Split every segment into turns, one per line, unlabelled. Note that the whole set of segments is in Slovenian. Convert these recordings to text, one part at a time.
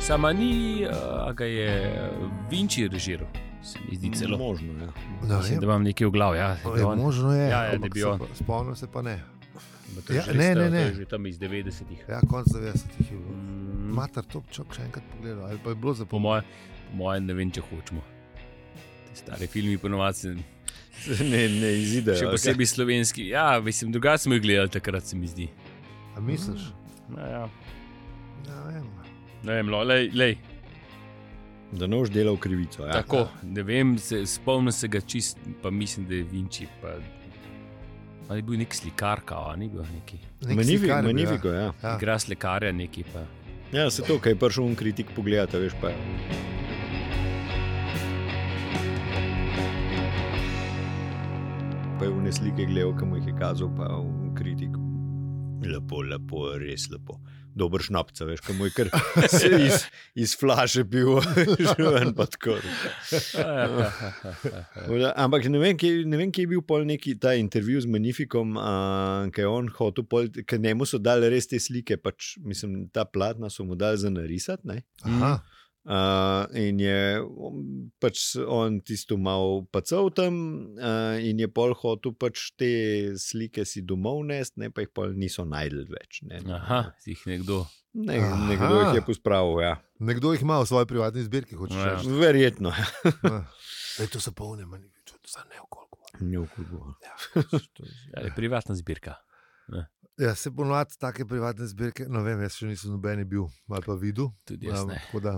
Sama ni, eh, a ga je Vinči režiral. Se mi zdi celo.
Možno, ja.
Ne
Mislim,
vem.
da imam nekaj v glavi. Ja,
Ne,
da on-
možno je,
Ja, ja,
ampak
da bi
se
on.
pa- Spomnim se pa ne.
Ma to je
Ja,
že
ne,
staro,
ne,
to je
ne.
Že tam iz 90-ih.
Ja, konc 90-ih je bilo.
Mm,
Mater, to bi čak še enkrat pogledal, ali pa je bilo za
Po mojem, moje, ne vem, če hočemo. Ti stari filmi, ponovadi,
Ne, ne izide.
še
ali kaj?
posebej slovenski. Ja, mislim, drugače smo jih gledali takrat, se mi zdi.
A misliš?
Ja, ja.
Ja, vem.
Ne vem, no, lej, lej,
Da ne boš delal krivico. Ja.
tako, ne vem, se, spomnim se ga čist, pa mislim, da je Vinči. Pa, ali je bil nek slikar, kao, a ni bil neki.
Nek
Manifiko,
slikar je bil, ja.
manifiko, ja.
Ja.
Igra slikarja, neki pa.
Ja, se to, kaj je prišel un kritik pogledat, a veš pa. Pa je v neslike gledal, kam jih je kazal, pa v kritik. Lepo, lepo, res lepo. Dober šnapca, veš, kam je kar se iz, iz flaše bil, življen pa tako.
ja,
Voda, Ampak ne vem, kje, ne vem, kje je bil pol neki ta intervju z Magnifikom, a, ki je on hotel, pol- ker njemu so dali res te slike, pač, mislim, ta platna so mu dali za narisati. ne.
Aha,
Uh, in je um, pač on tisto mal pacal tam, uh, in je pol hotel pač te slike si domov nest, ne pa jih pol niso najdel več. Ne,
Aha, si jih nekdo.
ne, nekdo jih je
Aha.
pospravil, ja.
nekdo jih ima v svoji privatni zbirki, hočeš
Ja.
reči.
verjetno.
Ja. Ej, to so polne, manj, to so ne okolko.
Ne, kako.
Ja, je privatna zbirka.
Ja, se ponovadi take privatne zbirke, no vem, jaz še nisem noben bil ali pa videl.
Tudi jaz
Em,
ne.
tako da,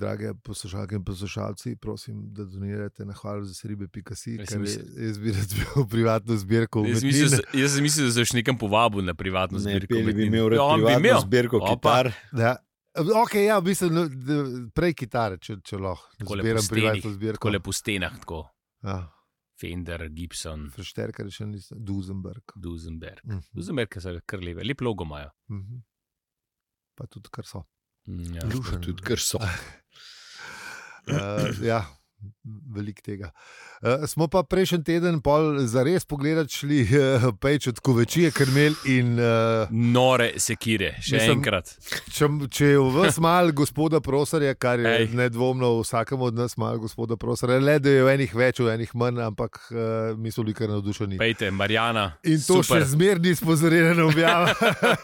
drage poslušalke in poslušalci, prosim, da donirate na hvalu za seribe.si,
Jaz sem
ker je-
mislil-
jaz bi rad bil v privatno zbirko.
Jaz sem
umetnin.
mislil, z- jaz sem mislil, da se še nekam povabil na privatno
Ne,
zbirko.
peli bi
umetnin.
imel
Ja, on bi
rad
imel.
zbirko
Opa.
kitar.
Ja. Ok, ja, v bistvu, no, d- prej kitare, če, če lahko.
Takole po
Zbiram privatno
stenih,
zbirko.
Tako le po stenah, tako.
Ja,
Fender, Gibson,
Frešterka je še nisem, Duzenberg.
Duzenberg.
Mhm.
Duzenberg so kar lepe, lep logo imajo.
Mhm. Pa tudi kar so.
Mm, Ja.
Lušen.
Tudi ker so.
Uh, ja, veliko tega. Uh, smo pa prejšnji teden pol za res pogledali, šli uh, peč od Kovečije, Krmel in uh,
Nore sekire, še Mislim,
Mislim-
enkrat.
Če, če je v vas malo gospoda prosarja, kar je
Ej.
Ej. nedvomno vsakemu od nas malo gospoda prosarja, le da je v enih več, v enih manj, ampak uh, mi smo bili kar navdušeni.
Pejte, Marijana.
In to
super.
Super. še zmerni spozorjena objava.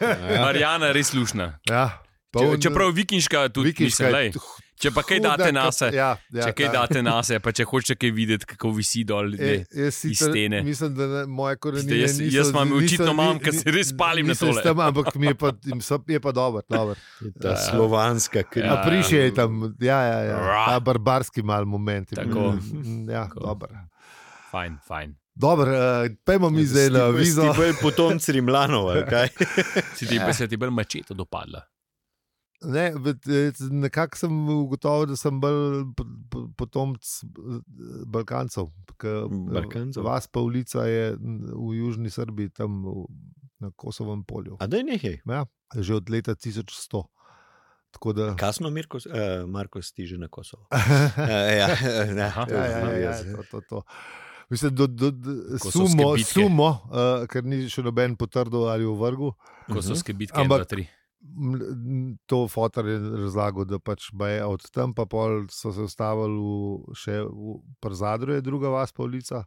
Ja.
Marijana je res lušna.
ja,
Če, čeprav vikinška tudi vikinška mislim, lej, če pa kaj date na sebe,
Ja, ja,
če kaj
ta-
date na sebe, pa če hočeš kaj videti, kako visi dol.
E,
Ne.
jaz sicer
stene.
mislim, da ne, moje korenine.
Zdaj, jaz-
niso,
jaz imam
ni-
očitno
niso-
imam,
ni-
ker se res
ni-
palim na
niso
tole.
s Tem, ampak mi je pa, jim so- je pa dobro. dober.
Ta
Ja.
slovanska krivica.
Ja.
Ja, Prišel je tam, ja, ja, ja.
Ra.
ta barbarski mal moment. je bil.
Tako.
Mm, Ja,
Tako.
dober.
Fajn, fajn.
Dobro, eh,
Ja,
pojdimo mi zdaj na vizo.
Ja. Ti si potomci Rimljanov, ali kaj?
Si
Eh.
ti, pa se ti bolj mačeta dopadla.
Ne, bet- eh, Nekako sem ugotovil, da sem bolj po- po- potomc eh, Balkancev. ke-
Balkancev?
Vas pa ulica je n- v južni Srbiji, tam v- na Kosovem polju.
A da je nekaj.
Že od leta 1100. Tako da.
Kasno, Mirko, uh, Marko, si že na Kosovo. Uh, ja, ja,
Aha.
ja, ja, ja, ja, to, to, to. Mislim, do, do, do,
Kosovske
sumo,
bitke.
sumo uh, ker ni še noben potrdil ali uvrgel.
Kosovske bitke,
Mhm. Ampak-
ampak tri.
M, To fotor je razlagal, da pač baje od tam, pa pol so se ustavili v, še v Przadru, je druga vas polica,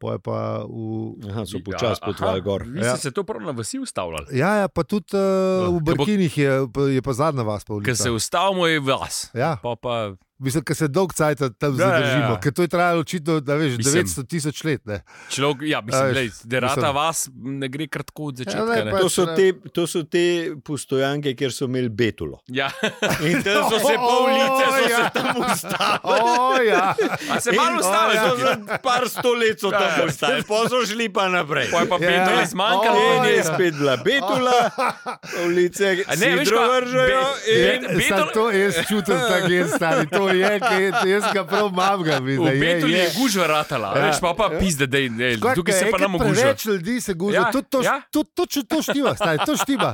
pa je pa v.
Aha, so počasi potovali gor.
Vi ste
Ja.
Ja, se to prav na vasi ustavljali.
Ja, ja pa tudi uh,
Ja,
v
ke bo-
Brkinih je, pa- je pa zadnja vas
Ker se
polica.
ustavimo je vas.
Ja,
Pa pa,
mislim, da se dolg cajt tam
Ja, ja, ja.
zadržimo, ker to je trajalo očitno, da veš,
Mislim-
900 tisoč let. Ne.
človek, ja,
Ja,
mislim,
veš,
lej, da rata
mislim- Ja,
vas ne gre kratko od začetka.
ne,
ne.
pa-
To so, te, to so te postojanke, kjer so imeli betulo.
Ja.
In tam so se pol ulice so se
Ja.
tam ustavili.
O, ja.
A se malo ustavlja,
In, o,
ja,
ja, so Par sto let so
Ja, ja.
tam ustavili, pa so šli pa naprej.
pa je pa
Ja.
pet let zmanjkalo.
O,
In
in je-
je spet bila betula, ulice
A ne,
se
veš
vedno
kaj,
vržejo.
be-
in-
be-
Je,
Beethoven-
sam to jaz čutim, da je stari, to je, ker je- jaz ga prav imam, ga vidim.
V Betuli je
je.
gužva ratala,
Ja.
veš pa pa pizde, da je
Kaj,
tukaj se
ko je
pa nam
enkrat
ogužva.
Preveč ljudi se gužva,
Ja,
ja, tudi to,
ja.
ja. tudi to, če to štima, stari, to štima.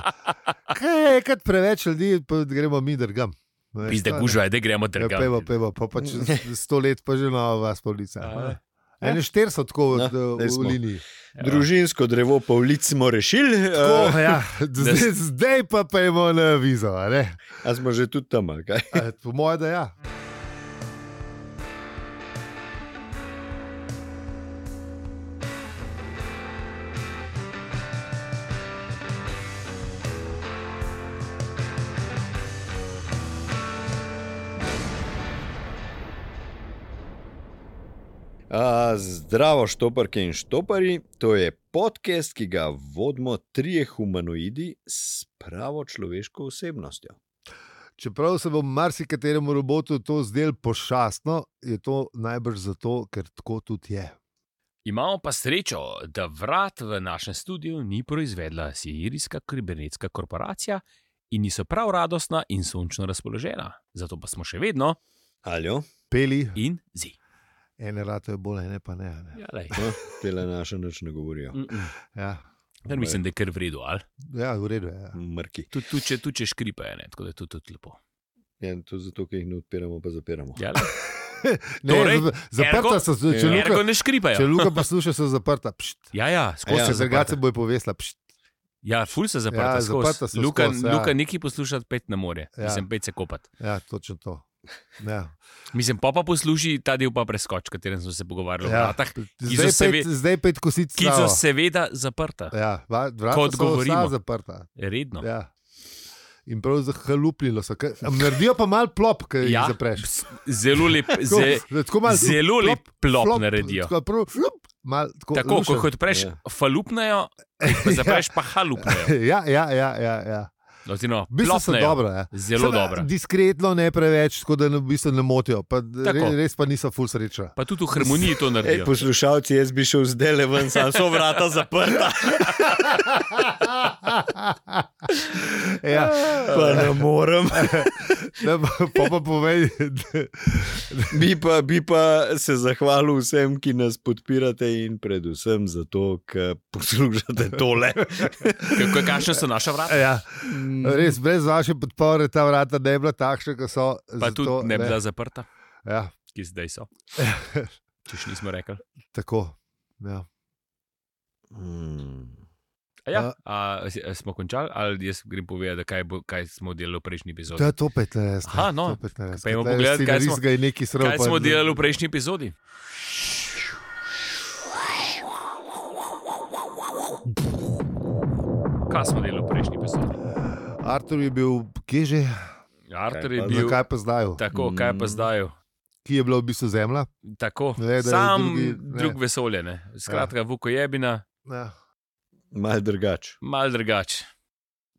Kaj je enkrat preveč ljudi, pa gremo mi drgam. Veš,
Pizde
to je-
gužva, da gremo
Ja,
drgati.
pevo, pevo, pa pač sto let pa že nova vas polica.
Ja.
Ene štiri so tako
No,
od, eh,
daj
v
smo.
liniji.
Družinsko drevo povlic smo rešili, eh,
Tako, ja, zdaj, zdaj pa pojmo na vizo. a ne?
a smo že tudi tam. ali kaj?
Eh, Po mojem, da ja.
A, Zdravo, štoparke in štopari. To je podcast, ki ga vodimo trije humanoidi s pravo človeško osebnostjo.
Čeprav se bo marsikateremu robotu to zdelo pošastno, je to najbrž zato, ker tako tudi je.
Imamo pa srečo, da vrat v našem studiu ni proizvedla sirijska kibernetska korporacija in niso prav radostna in sončno razpoložena. Zato pa smo še vedno
Aljo,
Peli,
in zi.
ene rate je bolj, ene pa ne. a ne.
Ja, lej.
no, tele naše noč ne govorijo.
Mm, mm.
Ja,
Ker mislim, da je kar vredno, ali
ja v redu je. Ja.
Mrki.
tudi tu, če, tu, če škripe, ne? tako da je to tudi lepo.
Ja, to je zato, ker jih ne odpiramo, pa zapiramo.
Ja, lej.
Ne,
Torej,
zap- zaprta
ergo-
so, se- če
ergo
Ergo
Luka,
ne škripajo.
če Luka posluša, so zaprta. Pšt.
Ja, ja, skozi
Ja,
ja,
Ose
se
drugače
zaprta.
se bo povesla. Pšt.
Ja, ful se zaprta.
Ja,
Ja,
zaprta so
Luka,
skozi, ja.
Luka nekaj poslušati, pet na more,
Ja.
ja. mislim, pet se kopati.
Ja, točno to. Ja.
Mislim, pa pa posluši ta del pa preskoč, o katerem smo se pogovarjali ja. o
Ja.
vratah, ki so,
Zdaj,
seve,
pet, zdaj pet kosic.
ki so seveda zaprta, ja.
Ja, va- vrata
Kot
so govorimo.
govorimo.
vsa zaprta.
redno. Ja.
Ja. In prav zahalupljilo so. Kaj- a Naredijo pa mal plop, ki jih
Ja,
zapreš.
ps- Zelo lep,
Tako,
ze,
tako malo
zelo lep plop
flop,
naredijo.
Tako, prav, flup, mal, tako, Ja.
tako
lušen.
kot ko odpreš,
Ja.
ja. falupnejo, ko zapreš, pa halupnejo.
Ja, ja, ja. ja, ja.
Oziroma,
V bistvu so
plopnejo.
dobro. Ja.
Zelo
Seveda,
dobro.
Diskretno, ne preveč, tako da ne, v bistvu ne motijo. Pa, re,
Tako.
res pa niso full sreča.
Pa tudi v harmoniji to
Ej,
naredijo.
poslušalci, jaz bi šel zdaj le ven, sam so vrata zaprta,
ja,
pa ne morem.
da, pa, pa, pa povej, da,
Bi pa, bi pa se zahvalil vsem, ki nas podpirate in predvsem zato, ker poslušate tole.
Kako- Kakšna so naša vrata?
ja, res brez vaše podpore ta vrata ne bi bila takšna, kot so.
Pa
zato,
tudi ne bi bila zaprta,
Ja,
ki zdaj so. Če še nismo rekli.
tako. Ja.
Mm.
A Ja, a, a, a smo končali, ali jaz grem povedati, kaj, bo, kaj smo delali v prejšnji
To
epizodi?
je to 15.
Aha, no.
To 15.
Pojdimo pogledat, kaj smo-
ga je neki sredi.
Kaj smo delali v prejšnji epizodi? Kaj smo delali v prejšnji epizodi?
Artur je bil, kje že,
Artur
Kaj
je
pa
bil
zakaj pa zdaj?
tako, kaj pa
Mm.
zdaj?
Ki je bila v bistvu zemlja.
Tako,
Ne, da je
sam
drugi-
drugi,
ne.
drug vesolje. Ne. Skratka, vukojebina,
Ja.
Mal drugače.
mal drugače.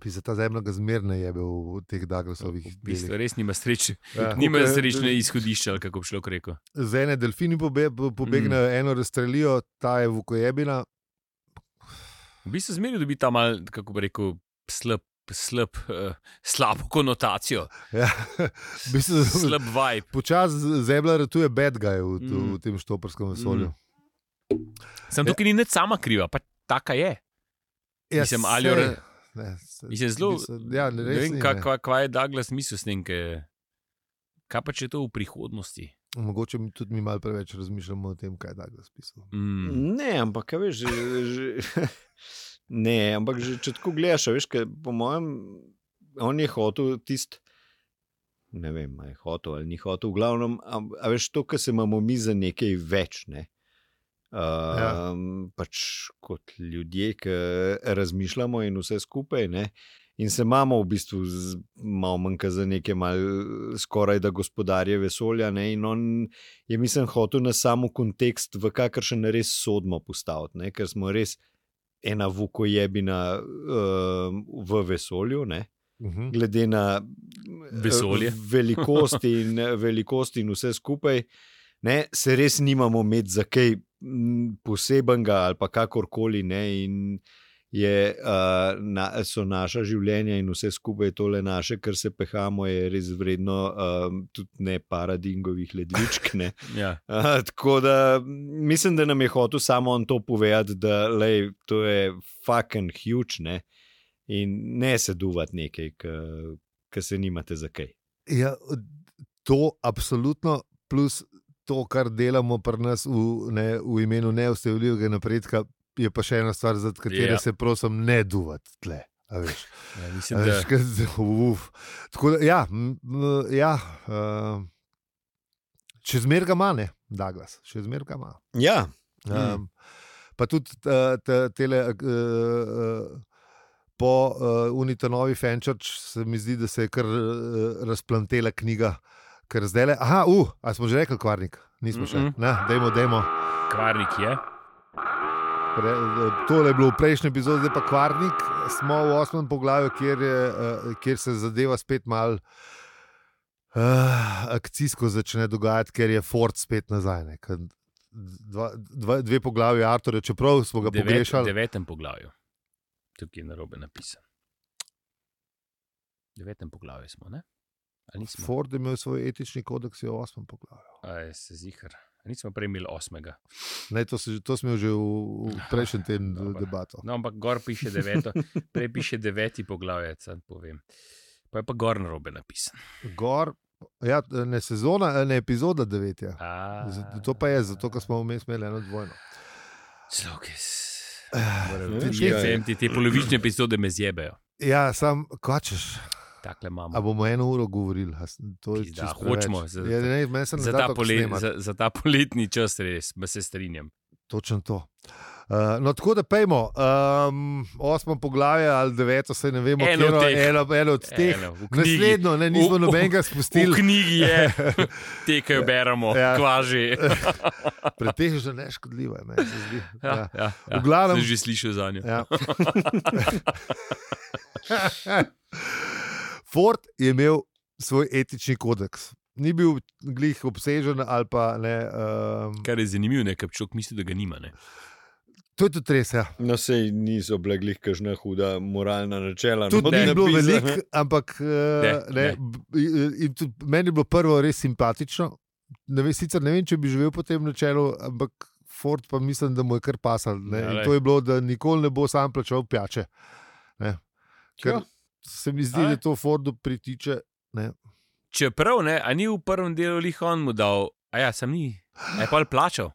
Pisa ta zemlja ga zmerne je bil v teh Douglasovih
V bistvu
delih.
res nima sreče.
Ja.
Nima srečne izhodišča, ali kako bi šlo rekel.
Z ene delfini pobe, po- pobegnejo, mm. eno razstrelijo, ta je vukojebina.
V bistvu zmeri dobi ta mal, kako bi rekel, slab, slab, uh, slabo konotacijo,
Ja. v bistvu,
slab vibe.
Počasi zemlja ratuje bedgaj v, mm.
Mm.
v tem štoprskem vesolju. Mm.
Sem
Ja.
tukaj ni nič sama kriva, pa taka je. Mislim, ali jo ra- Mislim, zelo-
Ja,
Ne
res
vem,
ni,
kaj, kaj, kaj je Douglas mislil s tem, ke- kaj pa če je to v prihodnosti.
Mogoče mi- tudi mi malo preveč razmišljamo o tem, kaj je Douglas pisal.
Mm.
Ne, ampak kaj veš, že, že, ne, ampak že, če tako gledaš, a veš, kaj, po mojem, on je hotel tisti. Ne vem, ali je hotel ali ni hotel, v glavnem, a, a veš, to, kar se imamo mi za nekaj več. Ne? Um, ja.
Ja.
Pač kot ljudje, ki razmišljamo in vse skupaj, ne? in se imamo v bistvu z- malo manjka za neke, mal, skoraj da gospodarje vesolja. Ne? In on je, mislim, hotel na samo kontekst, v kakršen res sodmo postaviti, ne? ker smo res ena vukojebina um, v vesolju. Ne?
Mhm.
glede na
Vesolje.
eh, velikost, in, velikost in vse skupaj, ne, se res nimamo med za kaj mm, posebenega ali pa kakorkoli. Ne, in je, uh, na, so naša življenja in vse skupaj tole naše, kar se pehamo, je res vredno um, tudi ne paradigmovih ledvičk. Ne.
Ja.
Uh, tako da mm, mislim, da nam je hotel samo on to povedati, da lej, to je fucking huge ne? in ne se duvati nekaj, ki se nimate za kaj.
Ja, to absolutno, plus to, kar delamo pri nas v, ne, v imenu neustavljivega napredka, je pa še ena stvar, za
Ja.
katero se prosim ne duvati tle. a veš.
Ja, mislim,
A
da
veš, kaj z- uf. Tako da, ja, m, m, ja uh, še zmer ga ima, ne, Douglas, še zmer ga ima.
Ja,
Um, pa tudi uh, tele. Uh, uh, Po uh, Unitanovi Fenčerč se mi zdi, da se je kar uh, razplantela knjiga, ker zdaj le. Aha, uh, a smo že rekli, kvarnik, nismo še.
Mm, mm.
Na, dajmo, dajmo.
kvarnik je.
Pre, eh, tole je bilo v prejšnji epizodi, zdaj pa kvarnik. Smo v osmem poglavju, kjer, je, eh, kjer se zadeva spet malo uh, akcijsko začne dogajati, ker je Ford spet nazaj. Ne? Ker Dva, dva, dve poglavi Artura, čeprav smo ga
V devet-
pogrešali.
devetem poglavju. Tukaj je narobe napisan. V devetem poglavju smo, ne? Ali nismo?
Ford je imel svoj etični kodeks, je v osmem poglavju.
Aj, se zihar. Nismo prej imeli osmega.
Ne, to, se, to smo imeli že v, v prejšnjem tednu
Dobro.
debato.
No, ampak gor piše deveto, prej piše deveti poglavje, sad povem. Pa je pa gor narobe napisan.
Gor, ja, ne sezona, ne epizoda 9. Ja.
A,
Z- To pa je zato, ker smo vmes imeli eno dvojno. Eh,
Slokis.
Torej,
Ja,
Ti,
ja.
te, te polovične epizode me zjebejo.
Ja, sam kačeš.
Takle
A
imamo.
bomo eno uro govorili, a s- to je
Pizda,
čisto.
hočemo,
preveč.
za-
Ja, ne, meni se ne
Za
da
ta,
tako
pole,
snemati.
za, za ta poletni čas res, ma se strinjam.
Točno to. Uh, no, tako da pejmo, um, osmo poglavje ali deveto, se ne vemo,
Eno od
katero,
teh.
eno, eno od teh.
Eno, v knjigi.
Naslednjo, ne,
V-
nismo
v-
nobenega
V
spustili,
knjigi je, te, ki jo beremo,
Ja.
ja. kvaži.
pretežno neškodljivo. je, meni se zdi. Ja.
Ja, ja, ja.
V glavnem-
Sem že slišal za njo.
Ja. Ford je imel svoj etični kodeks. Ni bil glih obsežen ali pa ne. Um,
Kar je zanimivo, ne, ker človek misli, da ga nima. Ne.
to je tudi res, ja.
no, sej niso bile glih kažna huda moralna načela. no,
Tudi ni bilo
napisana.
veliko, ampak eh,
Ne,
ne,
ne.
b- in tudi meni je bilo prvo res simpatično. Ne ve, sicer ne vem, če bi živel po tem načelu, ampak Ford pa mislim, da mu je kar pasal. Ne?
Ja,
In
lej.
to je bilo, da nikoli ne bo sam plačal pijače. Ne? Ker
Ja.
se mi zdi,
A je.
da to Fordu pritiče.
Čeprav ne, a ni v prvem delu lih on mu dal, a ja, sem ni, a je pa plačal.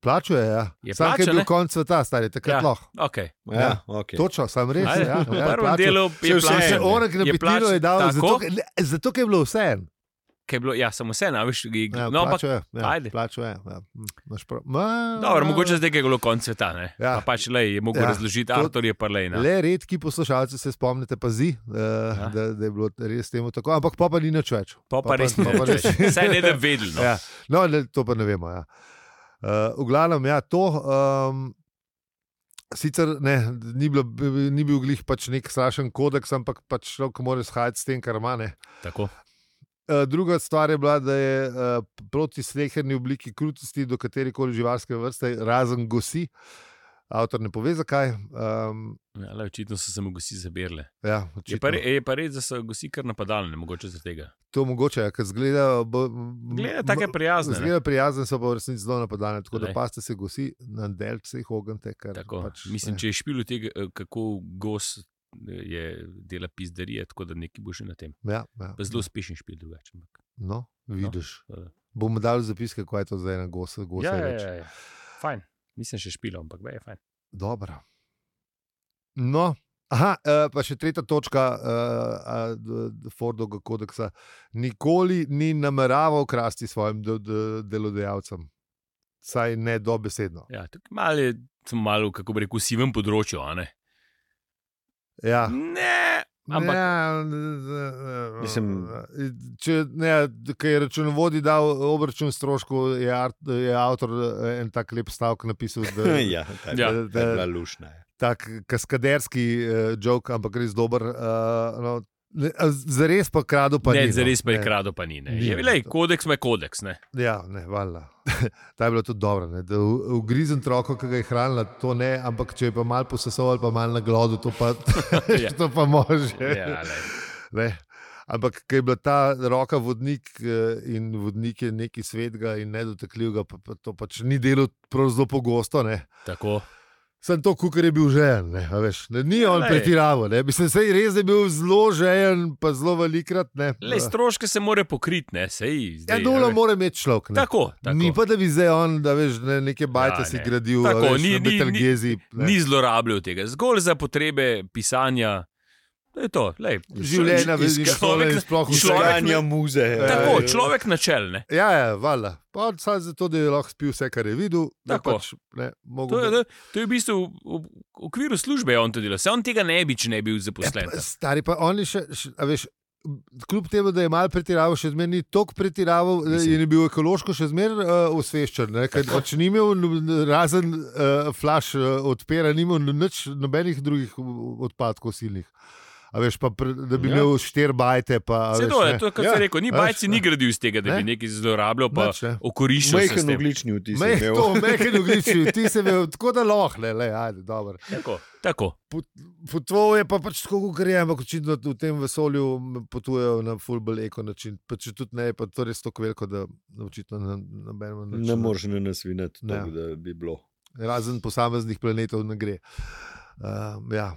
Plačuje, ja.
Je
Sam ker je
plačal,
bil
ne?
konc sveta, stari, takrat
Ja.
ja. lahko.
Okay.
Ja, okay.
Točno, sam res.
Ajde,
Ja,
v
ja,
prvem
plačal.
delu
Saj
je
vse
plačal.
Še
je, ne.
orek na
Je
petino je dal,
plač-
zato,
tako?
ker- ne, zato ker je bilo vse en.
Kaj je bilo, ja, samo vse, ne veš, je-
Ja,
no, ampak,
plačuje,
ajde.
ja, plačuje, ja. Mm, imaš prav. Ma-
dobro, mogoče zdaj je bilo konc sveta. Ne.
Ja.
Ja. Pa pač lej, je mogel
Ja,
ja. razložiti,
to-
avtor je pa lej. no. Ne.
Le redki poslušalci se spomnite, pazi, uh, ja. da, da je bilo res temu tako, ampak pa, pa ni nič več.
Pa pa res
pa
ne,
pa res-
vse ne da vedel. No.
Ja. No, le, to pa ne vemo. Ja. Uh, v glavnem, ja, to. Um, Sicer ne, ni, bilo, ni bil glih pač nek strašen kodeks, ampak pač človek mora shajati s tem, kar ima. ne.
Tako.
Eh, Druga stvar je bila, da je eh, proti sleherni obliki krutosti do katerekoli živalske vrste, razen gosi. Avtor ne pove, zakaj. Um,
Ja, le, očitno so se mu gosi zabirali.
ja,
Je,
očitno.
pa re- je pa res, da so gosi kar napadali, ne mogoče zaradi tega.
To mogoče, ja, ker zgledajo. bo-
Gleda, tako je prijazno.
Zgledajo prijazne, so pa v resnici zelo napadalne. Tako da
Glej.
paste se gosi na delce, jih ognite. ker
Tako,
Pač,
Mislim,
ne.
če je špil tega, eh, kako gos eh, je dela pizderije, tako da neki bo že na tem.
Ja, ja.
Pa zelo uspešen špil drugače. ampak,
No, vidiš.
eh,
Bomo dali zapiske, kaj je to za ena gosa.
Ja, ja, ja, ja. Fajn. Nisem še špil, ampak bej, je fajn.
Dobro. No, aha, eh, pa še tretja točka uh, Fordovega kodeksa. Nikoli ni nameraval krasti svojim de, de, delodajalcem. Saj ne dobesedno.
Ja, tukaj malo je, sem malo, kako bi rekel, v sivem področju. a Ne?
Ja.
ne, ampak ja.
ja, n- n-
Mislim-
če ne, kaj je računovodi dal obračun stroškov, je, art- je avtor eh, en tak lep stavek napisal, da,
ja, ta je
Ja.
bila- ta je bila lušna. ja.
tak kaskaderski uh, jok, ampak res dober. Uh, no, ne, a z- zares pa kradu, pa
ne,
ni. no.
zares pa je
Ne,
krado, pa ni. ne.
Ni,
Je,
ne,
lej,
to-
kodeks ima kodeks. Ne?
Ja, ne, valjda. Ta je bila tudi dobra. Ne, da v- Ugrizen troko, ki ga je hranila, to ne, ampak če je pa malo posesoval ali pa malo na glodu, to pa,
Ja.
to pa može.
Ja, lej.
Ne. Ampak ker je bila ta roka vodnik eh, in vodnik je nekaj svetega in nedotakljivega, pa, pa to pač ni delo prav zelo pogosto. Ne.
Tako,
Sem to, kar je bil žejen, ne, a veš, ne, ni on
Glej.
pretiraval. ne, Mislim, sej res je bil zelo žejen, pa zelo velikrat. Ne,
Le stroške se more pokriti, ne sej.
ja, dolo mora imeti človek. Ne.
Tako, tako.
Ni pa, da bi zdaj on, da veš, ne, neke bajte
Ja,
ja, si
ne.
gradil,
Tako,
tako, veš,
ni-
ni,
ni-
na Betelgezi. ne.
ni zlorabljal tega, zgolj za potrebe pisanja. To je to, lej,
Življenja
Iz-
vidim,
človek-
šole in sploh vse.
človek-
Iskanja muze.
Tako,
Ja,
človek načelne.
Ja, ja, valjda. Pa Sam zato, da je lahko spil vse, kar je videl. da
Tako.
Pač, ne, mogo,
To je, to- to je v bistvu v, v okviru službe je on to delal, se on tega ne bi, če ne bi bil zaposlen.
Ja, pa Stari pa oni še, še a veš. Kljub temu, da je malo pretiraval, še zmeraj ni tako pretiraval
Mislim.
Mislim. in je bil ekološko še zmeraj uh, osveščen. ne, ker Pač ni imel, n- razen uh, flash uh, odpira, ni imel nič, nobenih drugih uh, odpadkov silnih. A veš, pa, pre- da bi
Ja.
ja. imel štiri bajte. Pa, a
Se
veš,
to
ne.
je, to, kar ja,
Ja,
si rekel, ni
veš,
bajci
ja.
ni gradil iz tega, da bi
Ne.
nekaj zlorabljal, pa
Nič, ne.
okoriščal se s
Majhen
tem.
oglični vtis. je
Meh,
imel.
to, mehko nogiči, ti se veš, tako da lohne, le, ajde, dobro.
Tako, tako.
Potoval je pa pač tako, kot je, ampak očitno v tem vesolju m, potujejo na fullball eko način. Pa če tudi ne, je pa to res tako veliko, da da očitno na- nobenemu nič
Ne moreš na nas vinati,
Ne.
tako da bi bilo.
Razen posameznih planetov ne gre. Um, ja.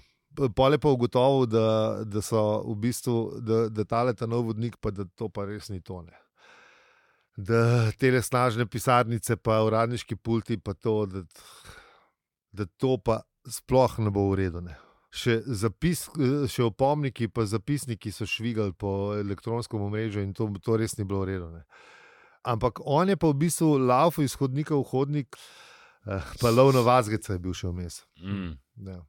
Pole pa je ugotovil, da, da so v bistvu, da, da tale ta nov vodnik, pa da to pa res ni tone. Da te lesnažne pisarnice, pa uradniški pulti, pa to, da, da to pa sploh ne bo uredone. Še, zapis, še opomniki, pa zapisniki so švigali po elektronskem omrežju in to, to res ni bilo uredone. Ampak on je pa v bistvu laufal iz hodnika v hodnik, eh, pa lovno vazgeca je bil še vmes.
Mm.
Ja.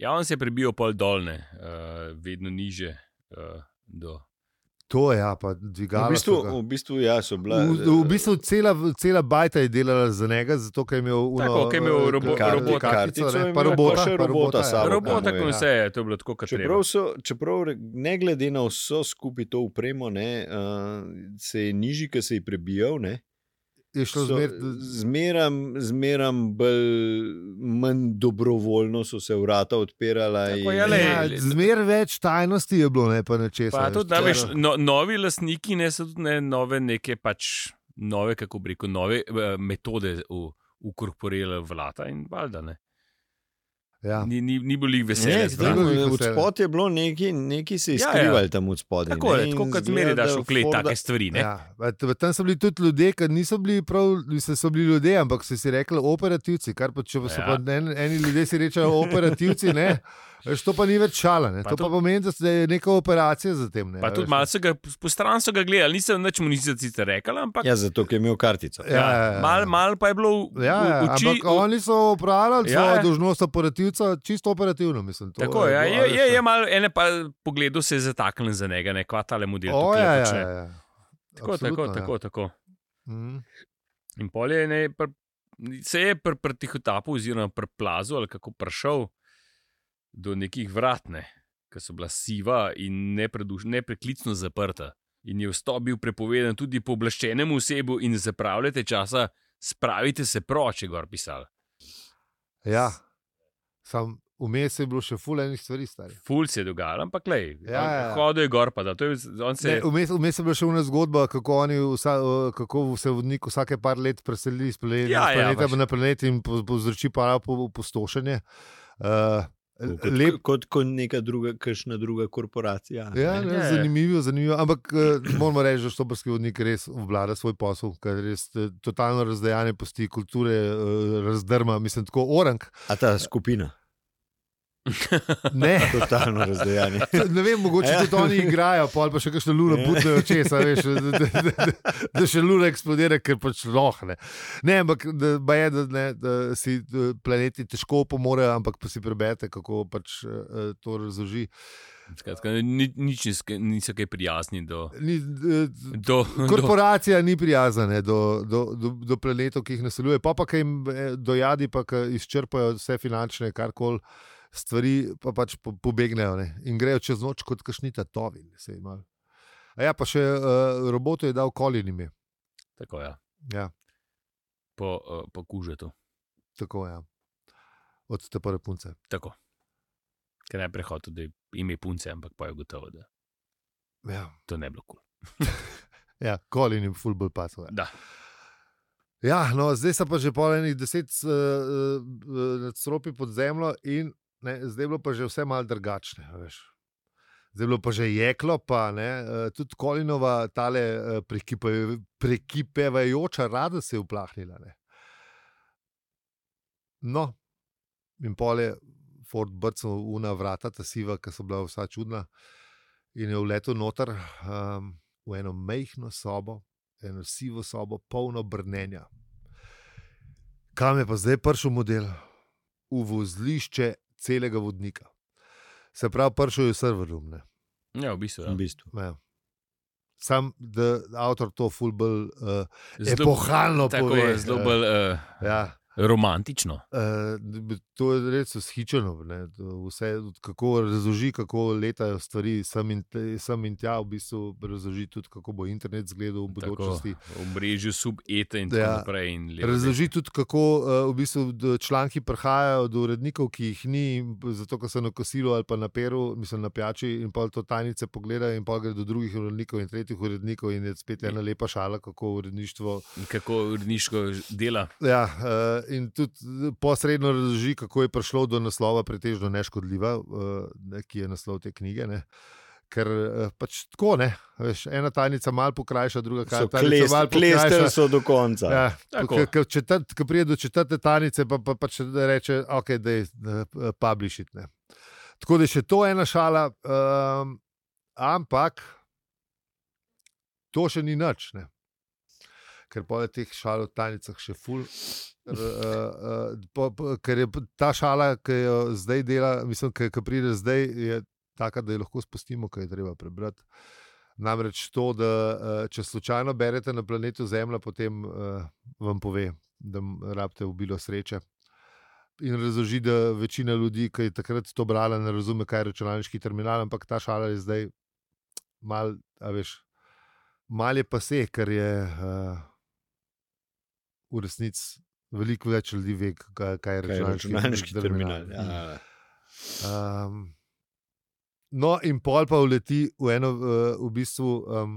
Ja, on se je prebil pol dolne, uh, vedno niže. Uh, do.
To je, ja, pa
V
dvigalo.
bistvu,
so ga-
v bistvu ja, so bila.
v, v bistvu cela, cela bajta je delala za njega, zato ker je imel uno,
Tako, ker je imel
eh,
robo-
kar-
robota.
Kartico
kartico,
je
ne,
imel,
pa
pa
robota,
še
pa
robota
robota,
sabo.
ja.
Robota,
ja.
kot vse, je, to je bilo tako, kot treba.
Čeprav, so, čeprav re- ne glede na vso skupaj to upremo, ne, uh, se je nižji, ki se je prebijal, ne,
Je šlo
so
zmer,
zmeram, zmeram bolj, manj dobrovoljno so se vrata odpirala.
Tako,
in-
ja, lej.
ja, zmer več tajnosti je bilo, ne pa nečesa.
Pa
veš,
tudi, da,
tako
veš, no, novi lastniki ne so tudi ne, nove, neke pač nove, kako bi rekel, nove eh, metode v, ukorporirale vlada in valjda ne.
Ja.
Ni, ni, ni bilo jih
Ne,
veselje.
ni
zbrati.
bilo-
tako, Od spod je bilo nekaj, nekaj se je
Ja, ja.
skrivalo tam od spodaj.
Tako
ne,
je,
in
tako kot
izgleda,
zmeri daš
da
v klet
Forda-
take stvari. Ne?
Ja, a t- tam so bili tudi ljudje, ki niso bili prav, mislim, so bili ljudje, ampak so si rekli operativci. Kar pa če so
Ja.
ja. pa en, eni ljudje si rečejo operativci, ne, veš, to pa ni več šala. Ne.
Pa
Pa to pa
tudi-
pomeni, da se- da je neka operacija za tem. Ne,
Pa
a
tudi
ja, veš.
malo so ga, po stran so ga gledali, nisem nič mu nisem sicer rekel, ampak
Ja, zato ker je imel kartico.
Ja, ja, ja.
malo mal pa je bilo v,
Ja, ja,
v, v oči.
ampak oni so upravljali
Ja,
svojo
ja.
dolžnost operativca, čisto operativno. Mislim, to
Tako, ja,
bilo,
je,
a
je,
veš,
je malo, ene pa pogledu se je zataknil za njega, ne kva tale model.
O,
tukaj
ja, ja,
počne.
ja, ja.
Tako,
Absolutno,
tako,
ja.
tako, tako.
Mhm.
In pol je ne, pr, se je pri pr tihotapu, oziroma pri plazu, ali kako prišel do nekih vratne, ki so bila siva in nepreduš- nepreklicno zaprta. In je vstop bil prepovedan tudi pooblaščenemu osebu, in zapravljate časa, spravite se proč, je gor pisal.
Ja. Sam vmes je bilo še fulejnih stvari, stari.
Ful se je dogajal, ampak le,
Ja, ja, ja.
hodil je gor, pa da to je, on se
Ne,
je.
Vmes vmes je bila še ena zgodba, kako, oni vsa, eh, kako se vodnik vsake par let preseli iz planeta,
Ja,
ja,
ja,
planeta
pač.
ja, na planet in po- povzroči pa opustošenje. Uh,
Kot,
lep,
kot, kot neka druga, kakšna druga korporacija.
Ja,
ne.
Ja,
ne,
ja.
zanimivo, zanimivo. Ampak eh, moramo reči, da štobrski vodnik res obvlada svoj posel, ker res eh, totalno razdejanje posti kulture, eh, razdrma, mislim, tako orang.
A ta skupina,
Ne.
totalno razdejanje.
Ne vem, mogoče
Ja.
tudi oni igrajo, pol pa še kakšno luno
Ja.
butnejo česa, veš, da, da, da, da, da še luna eksplodira, ker pač lohne. Ne, ampak da, baje, da, ne, da si eh, planeti težko pomorejo, ampak pa si preberete, kako pač eh, eh, to razloži.
Skratka, ni, nič nis- niso kaj prijazni do.
Ni, eh,
do, do
Korporacija ni prijazna ne, do, do, do, do planetov, ki jih naseljuje, pa pa ki jim eh, dojadi, pa ki izčrpajo vse finančne, kar koli stvari, pa pač po- pobegnejo ne, in grejo čez noč kot kašni tatovi. ne, saj imajo. A ja, pa še uh, robotu je dal kolin ime.
tako, ja,
Ja,
po, eh, po kužetu.
tako je. Ja. Od te prve punce.
Tako. Ker najprej hotel, da je ime punce, ampak pa je gotovo, da
Ja,
to ne bi bilo kul. Cool.
ja kolin je full bolj pasuje.
Da.
Ja, no, zdaj so pa že pol enih deset uh, uh, stropi pod zemljo, in ne, zdaj je bilo pa že vse malo drugačne. a veš. Zdaj je bilo pa že jeklo, pa ne, eh, tudi Kolinova, tale eh, prekipe- prekipevajoča rada se je uplahnila. Ne. No, in pol je Ford brcal una vrata, ta siva, ki so bila vsa čudna, in je vletel noter um, v eno mehko sobo, eno sivo sobo, polno brnenja. Kam je pa zdaj prišel model? V vozlišče celega vodnika. Se pravi, prišel je serverumne.
Ja, v bistvu. Ja.
v bistvu.
Ja. Sam, da avtor to fulbol uh,
Zelo-
epohalno
tako
pove.
je, zelo bolj uh,
ja.
romantično.
Uh, to je res ushičeno, ne, to vse, kako razloži, kako letajo stvari, sem in, te- sem in tja, v bistvu razloži tudi, kako bo internet izgledal v budočnosti.
Tako, v mrežju subete in tako
Ja.
ja. naprej. In levo,
Razloži tudi, kako uh, v bistvu d- članki prihajajo do urednikov, ki jih ni, in p- zato ker so na kosilu ali pa na peru, mislim na pijači, in pa to tajnice pogledajo, in pa gre do drugih urednikov in tretjih urednikov, in je spet ena lepa šala, kako uredništvo.
desno. In Kako uredniško dela.
Ja, uh, in tudi posredno razloži, kako je prišlo do naslova Pretežno neškodljiva, uh, ne, ki je naslov te knjige. Ne. Ker eh, pač tako ne, a veš, ena tajnica malo pokrajša, druga
So
tajnica
kles-
malo pokrajša.
Klestili so do konca. Ja.
Ja,
Tako.
ko- ko- četrt- Ko pride do četrte tanice, pa, pa, pa če reče, okay, da je publishit. Ne. Tako da je še to ena šala, um, ampak to še ni nič. Ne. Ker po teh šalih o tajnicah še ful. r- Uh, uh, po, po, ker je p- ta šala, ki jo zdaj dela, mislim, ki ki pride zdaj, je taka, da jo lahko spustimo, kaj je treba prebrati. Namreč to, da eh, če slučajno berete na planetu Zemlja, potem eh, vam pove, da m- rabite obilo sreče. In razloži, da večina ljudi, ki je takrat to brala, ne razume, kaj je računalniški terminal, ampak ta šala je zdaj mal, a veš, mal je pa se, ker je uh, v resnici veliko več ljudi ve, kaj, kaj je
Kaj je
računalniški,
računalniški terminal. Ja.
Um, no, in pol pa uleti v eno, eh, v bistvu, um,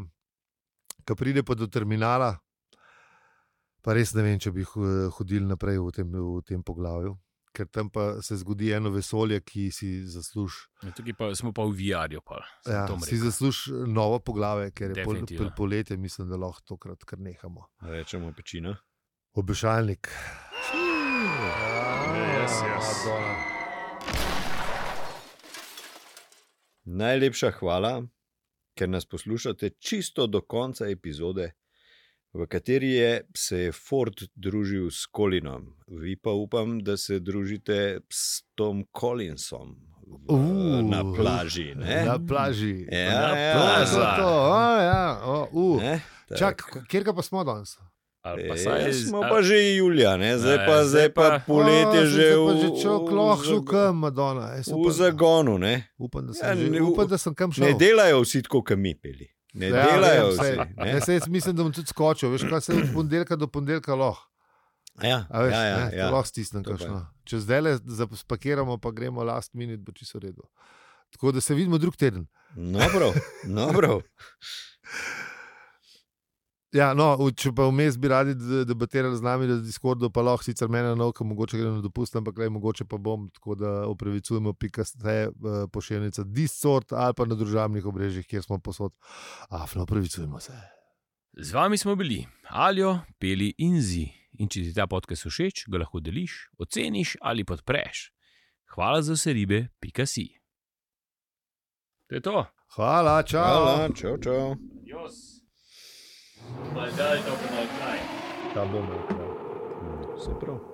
ki pride pa do terminala. Pa res ne vem, če bi ho- hodili naprej v tem, v tem poglavju, ker tam pa se zgodi eno vesolje, ki si zasluži.
Ja, Tukaj pa, smo pa v VR-ju.
Ja, si zasluži novo poglavje, ker je pol,
Definitivno.
pol, poletje, mislim, da lahko tokrat kar nehamo.
Rečemo pečina.
Obešalnik.
Ja,
Yes, yes.
Madonna.
Najlepša hvala, ker nas poslušate čisto do konca epizode, v kateri je se je Ford družil s Kolinom. Vi pa upam, da se družite s Tom Collinsom v,
Uh.
na plaži. Ne?
Na plaži.
Ja,
Na
ja.
To,
plaži.
to, to. O, ja, o, u.
Ne? Tako.
Čak, kjer ga pa smo danes?
E,
Saj,
smo
ali-
pa že julija, ne? zdaj
Ja,
pa, zdaj
zdaj
pa
pa-
poletje
O,
že
sem se
v,
pa že čok,
v,
lahko
zago-
kam, Madonna. Jaz
v
upam-
zagonu. Ne?
Upam, da sem,
Ja,
že,
ne, v-
upam, da sem kam šel.
ne delajo vsi tako, kot mi peli. Ne
Ja,
delajo
vem,
vsi.
saj.
ne.
Ja, saj jaz mislim, da bom tudi skočil. Veš, kaj se od ponedeljka do ponedeljka lahko.
Ja,
A Veš,
ja, ja,
ne,
ja.
Lahko stisnem
To pa je.
kakšno. Če zdaj le spakiramo, pa gremo last minute, bo čisto v redu. Tako da se vidimo drug teden.
No, prav, no, prav.
Ja, no, v- če pa vmes bi radi d- debatirali z nami na Discordu, pa lahko sicer meni na oko, mogoče gremo na dopust, ampak le mogoče pa bom, tako da upravičujemo, pika ste pošiljnica Discord ali pa na družabnih obrežjih, kjer smo posod. Afno, upravičujemo se.
Z vami smo bili Aljo, Peli in Zi. In če ti ta podcast všeč, ga lahko deliš, oceniš ali podpreš. Hvala za vse ribe, pika si. To je to.
Hvala, čau.
Hvala, čau, čau.
Jos. Mal daj, dobro, mal daj.
Ta bomo. Vse prav.